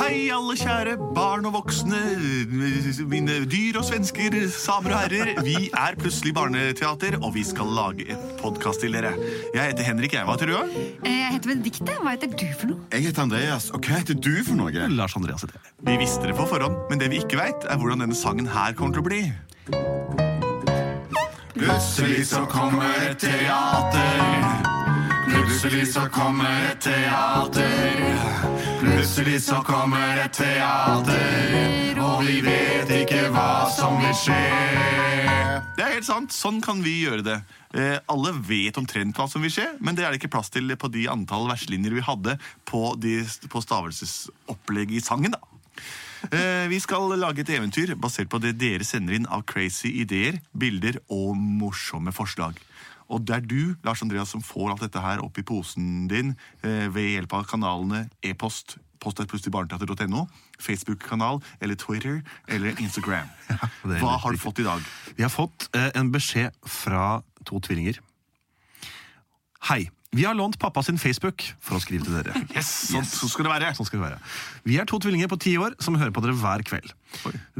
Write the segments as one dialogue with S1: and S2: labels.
S1: Hei, alle kjære barn og voksne, mine dyr og svensker, samer og herrer. Vi er plutselig barneteater, og vi skal lage et podkast til dere. Jeg heter Henrik Eiva, tror jeg.
S2: Eh, Jeg heter Benedikte. Hva heter du for noe?
S3: Jeg heter Andreas, og hva heter du for noe?
S4: Lars Andreas heter jeg.
S1: Vi visste det på forhånd, men det vi ikke veit, er hvordan denne sangen her kommer til å bli.
S3: Plutselig så kommer et teater. Plutselig så kommer et teater. Plutselig så kommer et teater. Og vi vet ikke hva som vil skje.
S1: Det er helt sant. Sånn kan vi gjøre det. Eh, alle vet omtrent hva som vil skje, men det er det ikke plass til på de antall verslinjer vi hadde på, de, på stavelsesopplegget i sangen, da. Eh, vi skal lage et eventyr basert på det dere sender inn av crazy ideer, bilder og morsomme forslag. Og det er du, Lars Andreas, som får alt dette her opp i posen din eh, ved hjelp av kanalene e-post, post.plutselig.barneteater.no, Facebook-kanal eller Twitter eller Instagram.
S4: det er
S1: Hva
S4: helt
S1: har du fått i dag?
S4: Vi har fått eh, en beskjed fra to tvillinger. Hei. Vi har lånt pappa sin Facebook for å skrive til dere.
S1: Yes, sånn, sånn skal det være.
S4: Sånn skal det være. Vi er to tvillinger på ti år som hører på dere hver kveld.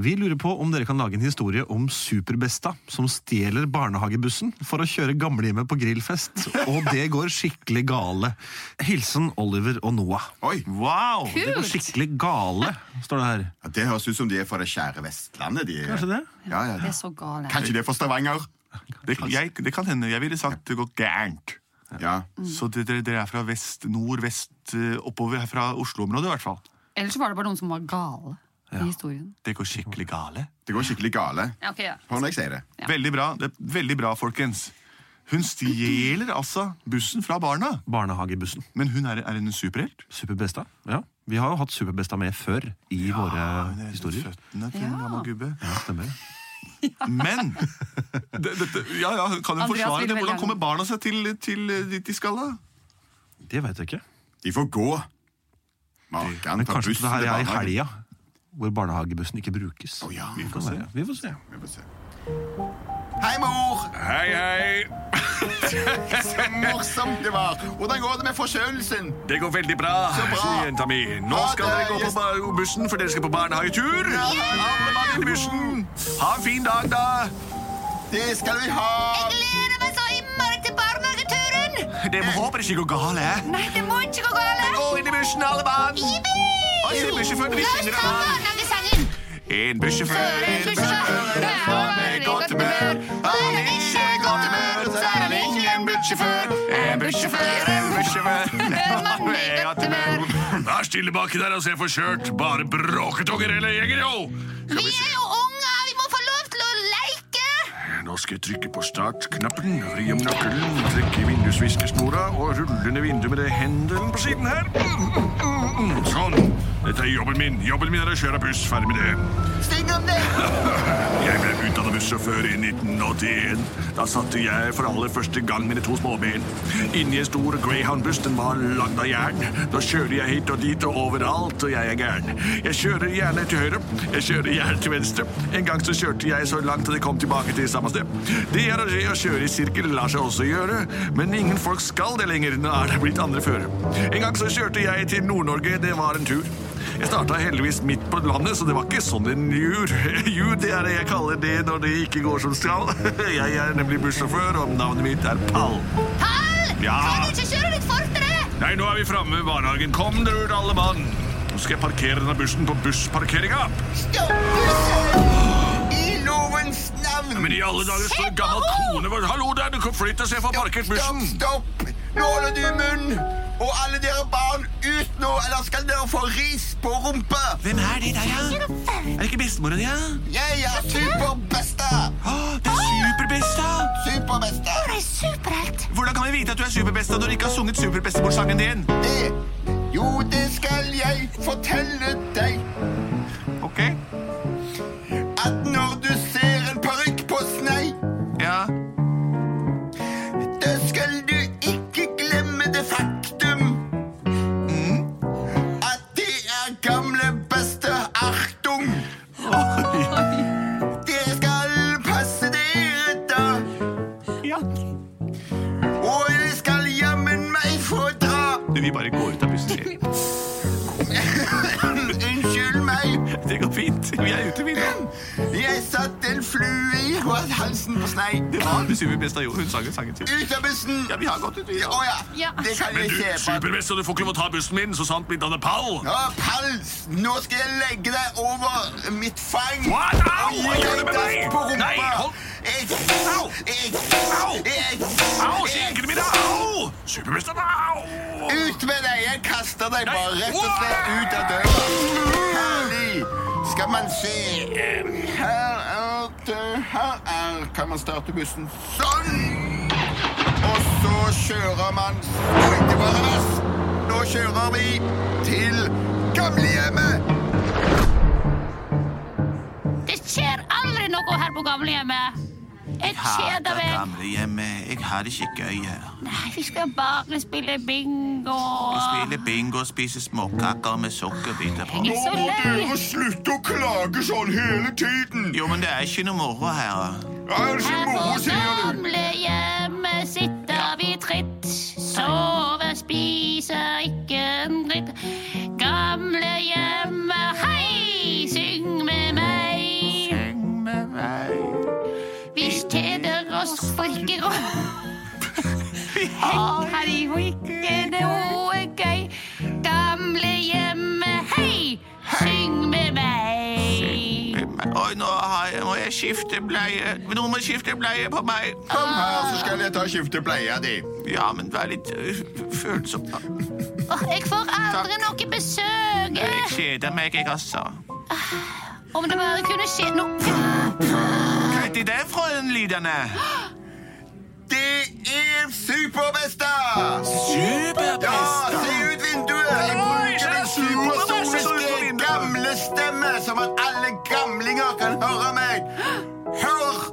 S4: Vi lurer på om dere kan lage en historie om Superbesta som stjeler barnehagebussen for å kjøre gamlehjemmet på grillfest, og det går skikkelig gale. Hilsen Oliver og Noah.
S3: Oi,
S1: Wow!
S4: Det går
S2: Kult!
S4: skikkelig gale, står det her.
S3: ja, Det høres ut som de er fra det kjære Vestlandet. De.
S4: Kanskje det?
S3: Ja, ja,
S2: Det
S3: ja.
S2: er så gal jeg.
S3: Kanskje de er fra Stavanger?
S1: Det, jeg, det kan hende. Jeg ville sagt det går gærent.
S3: Ja.
S1: Så det- dere dere er fra vest, nord, vest, eh, oppover her fra Oslo-området i hvert fall.
S2: Ellers var det bare noen som var gale i historien.
S1: Det går skikkelig gale.
S3: Det går skikkelig gale.
S2: Ja, ok, ja.
S3: Hør når jeg sier det.
S2: Ja.
S1: Veldig bra, det, veldig bra, folkens. Hun stjeler altså bussen fra barna,
S4: Barnehagebussen.
S1: men hun er, er hun en superhelt.
S4: Superbesta. Ja. Vi har jo hatt Superbesta med før i våre
S1: Hun er
S4: historier.
S1: Føttene til en
S2: Ja.
S1: gammel gubbe.
S4: Ja, stemmer.
S1: Men det, dette- ja, ja, hun kan hun forsvare
S2: Andreas ville
S1: det?
S2: veldig
S1: Hvordan
S2: gjerne-
S1: kommer barna seg til, til eh, dit de skal, da?
S4: Det veit jeg ikke.
S3: De får gå. Makan
S4: Men
S3: tar
S4: kanskje
S3: bussen
S4: det her
S3: til
S4: er i
S3: barnehagen.
S4: helga, hvor barnehagebussen ikke brukes.
S3: Å, ja.
S4: vi, får se. vi får se.
S3: Vi får se. Hei, mor!
S5: Hei, hei.
S3: Så morsomt det var! Hvordan går det med forkjølelsen?
S5: Det går veldig bra,
S3: bra.
S5: sier jenta mi. Nå
S3: Ha
S5: skal
S3: det,
S5: dere gå på
S3: yes.
S5: ba- bussen, for dere skal på barnehagetur. Alle mann inn i bussen. Ha en fin dag, da.
S3: Det skal vi ha!
S6: gleder meg så innmari til barnehageturen!
S5: Det håper ikke går galt. eh.
S6: Nei, det må ikke gå galt!
S5: Gå inn i bussen, alle mann. Oi, se, bussjåføren, vi
S6: La oss
S5: synger
S6: ta
S5: av.
S6: barnehagesangen!
S5: En bussjåfør, en bussjåfør, er faen meg godt humør. Han er ikke i godt humør, så er han ingen bussjåfør. En bussjåfør, en bussjåfør, er faen meg i godt humør. Vær stille baki der, altså, jeg får kjørt. Bare bråketunger eller jegere, jo.
S6: Vi er jo unge, og vi må få lov til å leke!
S5: Nå skal jeg trykke på startknappen, vri om nøkkelen, trekke i vindusviskesnora og rulle ned vinduet med det hendelen på siden her. Mm, mm, mm, Sånn. Dette er jobben min. Jobben min er å kjøre buss. Ferdig med det.
S3: Sting om det!
S5: Jeg ble utdannet bussjåfør i 1981. Da satte jeg for aller første gang mine to småben. Inni en stor Greyhound-buss. Den var lagd av jern. Da kjører jeg hit og dit og overalt, og jeg er gæren. Jeg kjører gjerne til høyre. Jeg kjører gjerne til venstre. En gang så kjørte jeg så langt at jeg kom tilbake til samme sted. Det er å skje å kjøre i sirkel lar seg også gjøre, men ingen folk skal det lenger. Nå er det blitt andre føre. En gang så kjørte jeg til Nord-Norge. Det var en tur. Jeg starta heldigvis midt på landet, så det var ikke sånn en jur. Jur, det er det jeg kaller det når det ikke går som skal. Jeg er nemlig bussjåfør, og navnet mitt er Pall.
S6: Pall!
S5: Ja.
S6: Kan du ikke kjøre litt fortere?
S5: Nei, nå er vi framme ved barnehagen. Kom dere ut, alle mann. Nå skal jeg parkere denne bussen på bussparkeringa.
S3: Stopp bussen! I lovens navn!
S5: Men i alle dager står en gammel kone vår Hallo der, du kan flytte og se for parkert bussen.
S3: Stopp, stopp! Nå holder du munn! Og alle dere barn, ut nå, ellers skal dere få ris på rumpa!
S1: Hvem er det der, ja? Er det ikke bestemora di, ja?
S3: Jeg er superbesta!
S1: Det er Superbesta!
S3: Superbesta!
S6: For ei superhelt!
S1: Hvordan kan vi vite at du er Superbesta når du ikke har sunget Superbestemorsangen din?
S3: Det Jo, det skal jeg fortelle deg.
S1: Ok,
S3: At når du ser en parykk på snei,
S1: ja.
S3: da skal du ikke glemme det faktum Mm. at det er gamle beste Achtung. Dere skal passe dere, da.
S1: Ja.
S3: Og dere skal jammen meg få dra.
S1: Du, vi bare går ut av bussen. sier jeg. Det går fint. Vi er ute, vi nå.
S7: Jeg satt en flue i halsen på snei.
S1: Det var Besummer Besta Jo. Hun sang en sang til.
S7: Ut av bussen!
S1: Ja, vi har gått ut, vi.
S7: Å ja.
S2: Ja.
S7: Det kan
S4: Men
S7: jeg
S4: du,
S7: se på.
S4: superbest, og du får ikke lov å ta bussen min, så sant mitt navn er Pall.
S7: Å, Pals, nå skal jeg legge deg over mitt fang.
S4: What? Au!
S7: Og
S4: Hva
S7: gi
S4: gjør du med
S7: deg
S4: meg?
S7: På rumpa.
S4: Nei, hold-
S7: Jeg,
S4: Au!
S7: jeg,
S4: Au!
S7: jeg,
S4: Au,
S7: jeg,
S4: skinkene mine! Au! Superbest, au!
S7: ut med deg. Jeg kaster deg
S4: Nei.
S7: bare rett og slett ut av døra. Herlig. Skal man se Her er det Her er Kan man starte bussen sånn? Og så kjører man Og ikke bare revers. Nå kjører vi til gamlehjemmet.
S6: Det skjer aldri noe her på gamlehjemmet. Jeg kjeder meg.
S1: Gamlehjemmet, jeg har det ikke gøy her.
S6: Nei, vi skal bare spille bingo.
S1: bingo og spise småkaker med sukkerbiter på.
S6: Jeg er så lei.
S7: slutte å klage sånn hele tiden.
S1: Jo, men det er ikke noe moro her.
S7: Er det
S6: Her på gamlehjemmet sitter vi tritt. Sove, spise, ikke en dritt. Gamlehjemmet, hei, syng med meg. Vi kjeder oss folker og Har her i jo ikke noe gøy. Gamlehjemmet, hei, syng med meg.
S1: Oi, nå har jeg, må jeg skifte bleie. Noen må skifte bleie på meg.
S7: Kom her, så skal jeg ta og skifte bleia di.
S1: Ja, men vær litt ø, f- følsom. da.
S6: Åh, jeg får aldri noe besøk. Ah,
S1: Jeg kjeder meg, jeg også.
S6: Om det bare kunne skje noe.
S1: Kutt i det, frøenlydene.
S7: Det er Superbesta! Ja, se ut vinduet! Jeg
S4: Oi,
S7: bruker
S4: det er
S7: den supersoniske gamlestemme, som at alle gamlinger kan høre meg. Hør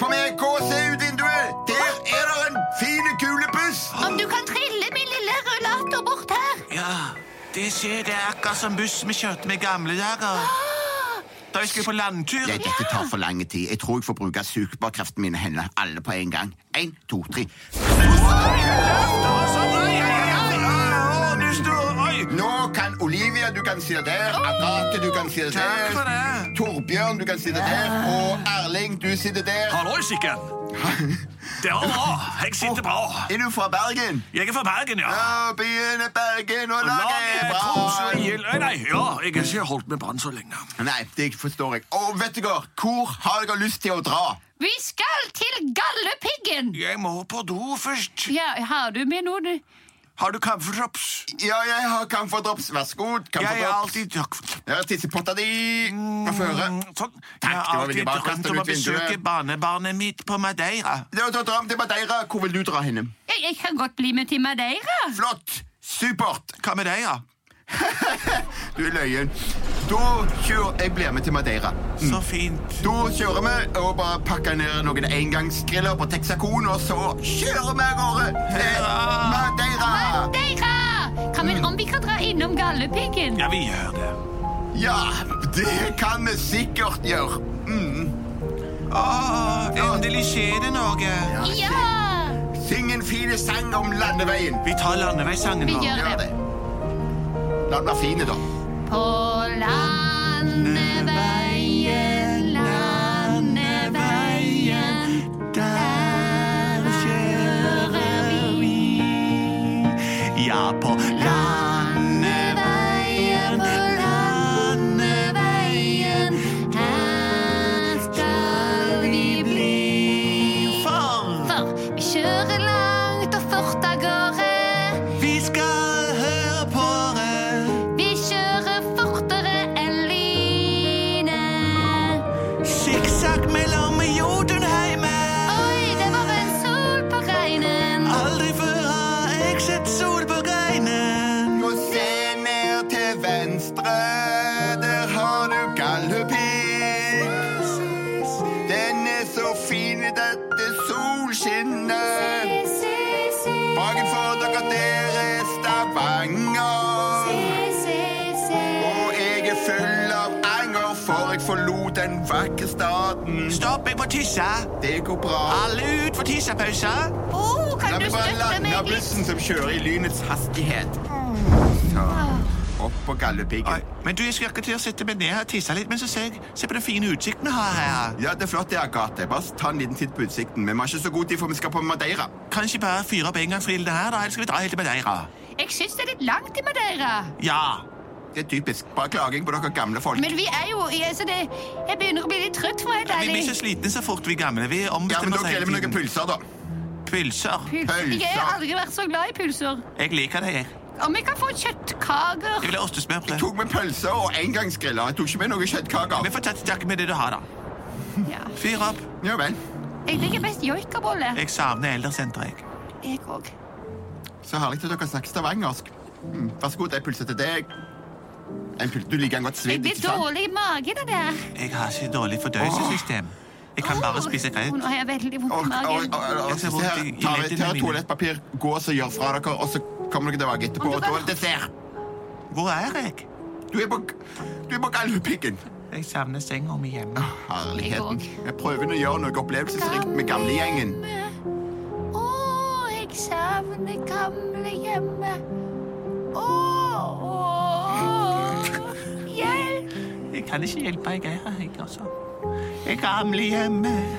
S7: på meg, gå og se ut vinduet! Der er det en fin kulebuss!
S6: Om du kan trille min lille rullator bort her.
S1: Ja, det skjer det er akkurat som bussen vi kjørte med i gamle dager. Da vi skulle på landtur.
S7: Nei, dette tar for lang tid. Jeg tror jeg får bruke sugebarkreftene mine hender alle på en gang. En, to, tre.
S1: Å, du står- Oi!
S7: Nå kan Olivia, du kan si det der. Agathe, du kan si det
S1: Takk for
S7: der.
S1: det.
S7: Torbjørn, du kan si det der. Og Erling, du sitter der.
S4: Hallois, ikke? Det var bra. Jeg sitter bra.
S7: Er du fra Bergen?
S4: Jeg er fra Bergen, ja.
S7: Ja, byen er Bergen, og laget
S4: Laget
S7: er
S4: Tromsø i
S7: Brann.
S4: hjel- Nei, nei, ja, jeg har ikke holdt med Brann så lenge.
S7: Nei, det forstår jeg. Og vet dere, hvor har dere lyst til å dra?
S2: Vi skal til Galdhøpiggen!
S4: Jeg må på do først.
S2: Ja, har du med noen
S4: Har du kaffedrops?
S7: Ja, jeg har kamferdrops. Vær så god.
S1: Jeg er
S7: Kamferdrops.
S1: alltid Takk,
S7: Jeg har tissepotta di. Hva får jeg høre?
S1: Sånn. Jeg har
S7: det var veldig
S1: alltid
S7: bra.
S1: drømt
S7: Kastet
S1: om å
S7: ut vinduet.
S1: besøke barnebarnet mitt på Madeira.
S7: Det var Dram til Madeira. Hvor vil du dra henne?
S2: Jeg, jeg kan godt bli med til Madeira.
S7: Flott! Supert!
S1: Hva med deg, ja?
S7: Du er løyen. Da kjører jeg blir med til Madeira. Mm.
S1: Så fint.
S7: Da kjører vi og bare pakker ned noen engangsgriller på Texacon, og så kjører vi av gårde til Madeira!
S2: Madeira! Kan vi, om vi kan dra innom Galdhøpiggen?
S4: Ja, vi gjør det.
S7: Ja, det kan vi sikkert gjøre.
S1: Å, endelig skjer det noe.
S6: Ja!
S7: Syng en fin sang om landeveien.
S1: Vi tar landeveisangen
S2: Vi
S1: nå.
S2: gjør
S7: Gjør
S2: det.
S7: det. La den være fin, da.
S6: På landeveien, landeveien, der kjører vi.
S1: Ja, på
S6: Landeveien, på landeveien, her skal vi bli.
S1: landfar.
S6: For vi kjører langt og fort av gårde.
S1: Vi skal høre på det.
S6: Vi kjører fortere enn lynet.
S1: Sikksakk mellom Jotunheimen.
S6: Oi, det var en sol på regnen.
S3: Ah.
S1: Aldri før har jeg sett sol på greinen.
S7: Nå se ned til venstre, der har du Galdhøpigg. Den er så fin i dette solskinnet.
S6: Se, se,
S7: Bakenfor dere der er Stavanger.
S6: se,
S7: Og
S6: se.
S7: jeg er full av anger, for jeg forlot den vakre staden.
S1: Stopp, jeg må tisse.
S7: Det går bra.
S1: Alle ut for tissepause.
S6: Oh,
S7: La
S6: kan du
S7: meg bare
S6: støtte
S7: lande
S6: meg litt?
S7: bussen som kjører i lynets hastighet. Så. opp på
S1: Nei,
S7: Galdhøpiggen.
S1: Men du, jeg skulle akkurat til å sette meg ned her og tisse litt, men så ser jeg Se på den fine utsikten vi har her.
S7: Ja, det er flott, det, Agathe. Bare ta en liten titt på utsikten. Men vi har ikke så god tid, for vi skal på Madeira.
S1: Kan ikke bare fyre opp en gang for ilden her, da? Eller skal vi dra helt til Madeira?
S2: Jeg syns det er litt langt til Madeira.
S1: Ja.
S7: Det er typisk. Bare klaging på dere gamle folk.
S2: Men vi er jo i- altså det, Jeg begynner å bli litt trøtt, for å være helt
S1: Vi blir så
S2: ærlig.
S1: slitne så fort vi gamle. Vi
S7: Ja, men
S1: ombestemmer
S7: dere gjelder med noen pølser, da.
S1: Pølser.
S2: Pulser. Jeg har aldri vært så glad i pulser.
S1: Jeg liker det, jeg.
S2: Om jeg kan få kjøttkaker
S1: Jeg vil ha ostesmørbrød.
S7: Tok med pølser og engangsgriller. Jeg tok ikke med noen
S1: Vi
S7: kjøttkaker.
S1: får ta til takke med det du har, da.
S2: ja.
S1: Fyr opp.
S7: Ja vel.
S2: Jeg liker best joikabolle.
S1: Jeg savner eldresenteret, jeg.
S2: Jeg òg.
S7: Så herlig at dere snakker stavangersk. Mm, vær så god, en pølse til deg. En pølse. Du liker den godt
S2: Jeg
S7: svidd,
S2: blir
S7: ikke
S1: sånn.
S7: sant?
S2: dårlig i magen av det.
S1: Jeg har ikke dårlig fordøyelsessystem. Jeg kan bare spise
S2: Åh,
S1: grøt.
S2: Nå har jeg veldig vondt
S7: Og,
S2: i
S7: og, og,
S2: magen.
S7: og,
S1: Jeg ser
S7: se
S1: vondt
S7: her.
S1: i- i
S7: Ta
S1: leddene
S7: ta
S1: mine.
S7: toalettpapir, gå og så gjør fra dere, og så kommer dere tilbake etterpå.
S2: Om du
S7: Og da
S2: kan-
S7: er det dessert.
S1: Hvor er jeg?
S7: Du er på, du er på Galdhøpiggen.
S1: Jeg savner senga mi hjemme.
S7: Herligheten.
S2: Jeg
S7: Jeg prøver nå å gjøre noe opplevelsesrikt med gamlegjengen.
S2: Å, jeg savner gamlehjemmet. Å, å, hjelp!
S1: Jeg kan ikke hjelpe, jeg er her, jeg, altså. Jeg er gamlehjemmet.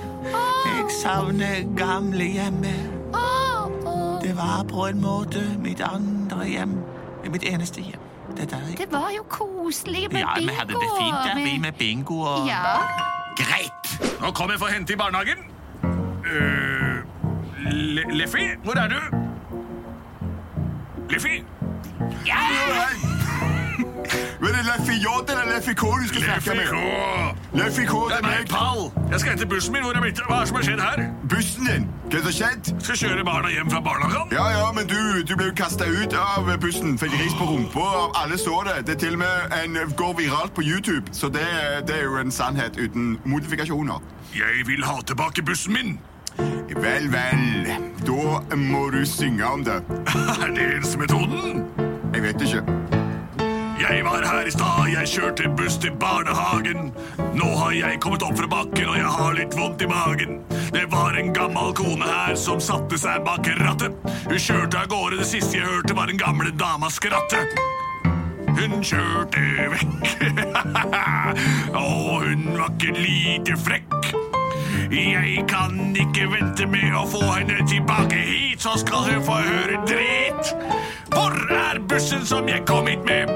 S1: Jeg savner gamlehjemmet.
S2: Å, å.
S1: Det var på en måte mitt andre hjem. Mitt eneste hjem. Det der, jeg.
S2: Det var jo koselig med
S1: Ja,
S2: bingo.
S1: vi hadde det fint der, vi med bingo og
S2: Ja,
S1: Greit!
S5: Nå kommer jeg for å hente i barnehagen. Uh, Le Leffy, hvor er du? Leffy?
S7: Men det er Leffy J eller Leffy K du skal snakke
S5: Leffy
S7: med?
S5: K!
S7: Leffy K,
S5: Det
S7: det
S5: er
S7: er
S5: meg,
S7: meg.
S5: Pall. Jeg skal hente bussen min. Hvor er mitt? Hva er det som har skjedd her?
S7: Bussen din. Hva er det som har skjedd?
S5: Skal kjøre barna hjem fra barnehagen?
S7: Ja, ja, men du, du ble jo kasta ut av bussen. Fikk ris på rumpa. og Alle så det. Det er til og med en, går viralt på YouTube, så det, det er jo en sannhet uten modifikasjoner.
S5: Jeg vil ha tilbake bussen min.
S7: Vel, vel. Da må du synge om det.
S5: Er det eneste metoden?
S7: Jeg vet ikke.
S5: Jeg var her i stad, jeg kjørte buss til barnehagen. Nå har jeg kommet opp fra bakken, og jeg har litt vondt i magen. Det var en gammel kone her som satte seg bak rattet. Hun kjørte av gårde, det siste jeg hørte var den gamle dama skratte. Hun kjørte vekk. og hun var ikke lite frekk. Jeg kan ikke vente med å få henne tilbake hit, så skal hun få høre drit. Hvor er bussen som jeg kom hit med?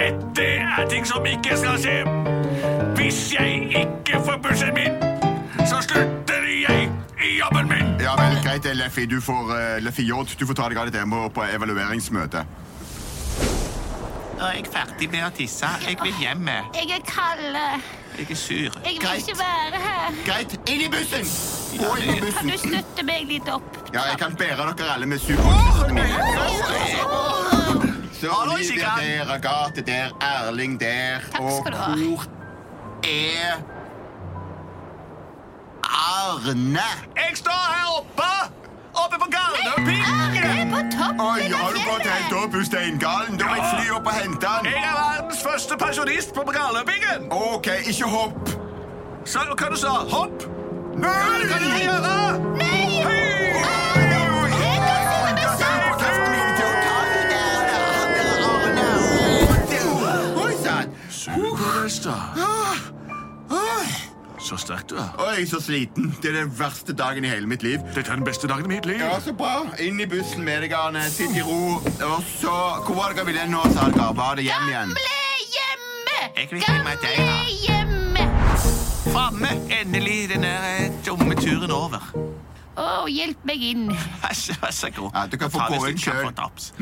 S5: Dette er ting som ikke skal skje. Hvis jeg ikke får bussen min, så slutter jeg i jobben min.
S7: Ja vel, greit det, Leffy. Du får, eh, Leffy J, du får ta deg av dette hjemme på evalueringsmøte.
S1: Nå er jeg ferdig med å tisse. Jeg vil hjem. Jeg
S6: Jeg er kald.
S1: er sur.
S6: Jeg vil ikke være her.
S7: Greit. Inn i bussen! Og inn i
S6: Kan
S7: bussen.
S6: du støtte meg litt opp?
S7: Ja, jeg kan bære dere alle med superbussen min. Så Olivia der, Agathe der, Erling der, og
S6: skal du ha.
S7: hvor er Arne?
S5: Jeg står her oppe! Oppe på
S6: Arne
S5: Gardøpiggen!
S6: på toppen
S7: Oi, har
S6: av
S7: du gått helt
S6: fjellet!
S7: opp, Steingalen? Da må jeg fly opp og hente han.
S5: Jeg er verdens første pensjonist på Gardøpiggen!
S7: OK, ikke hopp.
S5: Så hva du sa? Hopp?
S7: Nei!
S5: Hva er det du kan gjøre?
S6: Nei!
S5: Superbesta. Så sterk du er.
S7: Oi, så sliten. Det er den verste dagen i hele mitt liv.
S5: Dette er den beste dagen i mitt liv.
S7: Ja, så bra. Inn i bussen med deg, Arne. Sitt i ro. Og så Hvor var det dere ville nå, sa dere? Bare hjem igjen.
S1: Jeg vil hjem
S6: Gamlehjemmet!
S1: med deg, da.
S6: Gamlehjemmet!
S1: Framme! Endelig den der eh, dumme turen over.
S6: Å, hjelp meg inn.
S1: Vær så vær så god.
S7: Ja, du kan få
S1: Ta hvis
S7: gå
S1: du
S7: inn
S1: kan
S7: selv.
S1: få taps.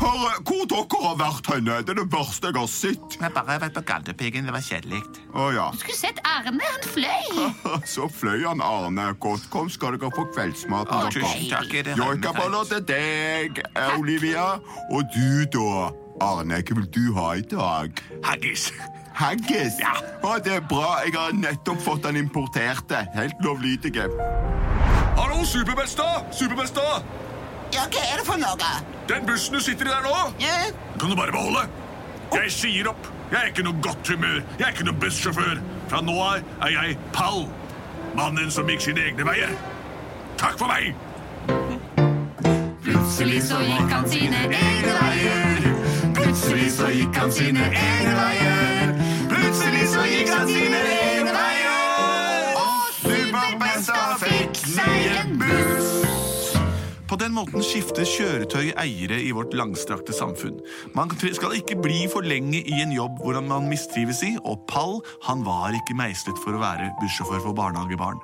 S7: Herre, hvor dere har vært henne? Det er det verste jeg har sett.
S1: Jeg har bare vært på Galdhøpiggen. Det var kjedelig.
S7: Å ja.
S6: Skulle sett Arne, han fløy.
S7: Så fløy han Arne. Godt kom skal dere få
S1: Å,
S7: kveldsmaten
S1: Tusen
S7: deres.
S1: takk. er det
S7: Joikaboller
S1: regnet?
S7: til deg, Olivia. Og du, da? Arne, hva vil du ha i dag?
S5: Haggis.
S7: Haggis? Ja. Å, det er bra. Jeg har nettopp fått den importerte. Helt lovlydige.
S5: Hallo, Superbesta! Superbesta!
S8: Ja, hva er det for noe?
S5: Den bussen du sitter i der nå,
S8: Ja,
S5: kan du bare beholde. Jeg sier opp. Jeg er ikke noe godt humør. Jeg er ikke noe bussjåfør. Fra nå av er jeg Pall. Mannen som gikk sine egne veier. Takk for meg!
S1: sånn
S2: plutselig så gikk han sine egne veier.
S3: Plutselig Plutselig så gikk han sine egne veier. Plutselig så gikk han sine egne veier. Og Superbesta fikk seg en buss.
S1: På den måten skifter kjøretøy eiere i vårt langstrakte samfunn. Man skal ikke bli for lenge i en jobb hvor man mistrives i, og Pall han var ikke meislet for å være bussjåfør for barnehagebarn.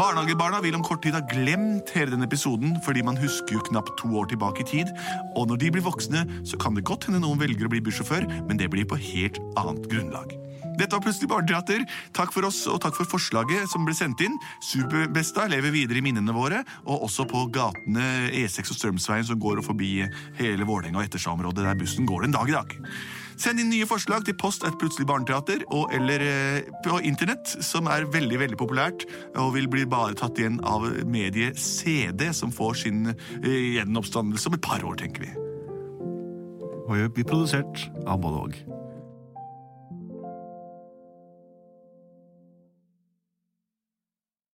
S1: Barnehagebarna vil om kort tid ha glemt hele den episoden, fordi man husker jo knapt to år tilbake i tid, og når de blir voksne, så kan det godt hende noen velger å bli bussjåfør, men det blir på helt annet grunnlag. Dette var Plutselig barneteater. Takk for oss, og takk for forslaget som ble sendt inn. Superbesta lever videre i minnene våre, og også på gatene E6 og Strømsveien som går forbi hele Vålerenga og Etterstamrådet, der bussen går den dag i dag. Send inn nye forslag til post at Plutselig barneteater og eller eh, på internett, som er veldig veldig populært og vil bli bare tatt igjen av mediet CD, som får sin eh, gjenoppstandelse om et par år, tenker vi.
S4: Og vi er produsert av både og.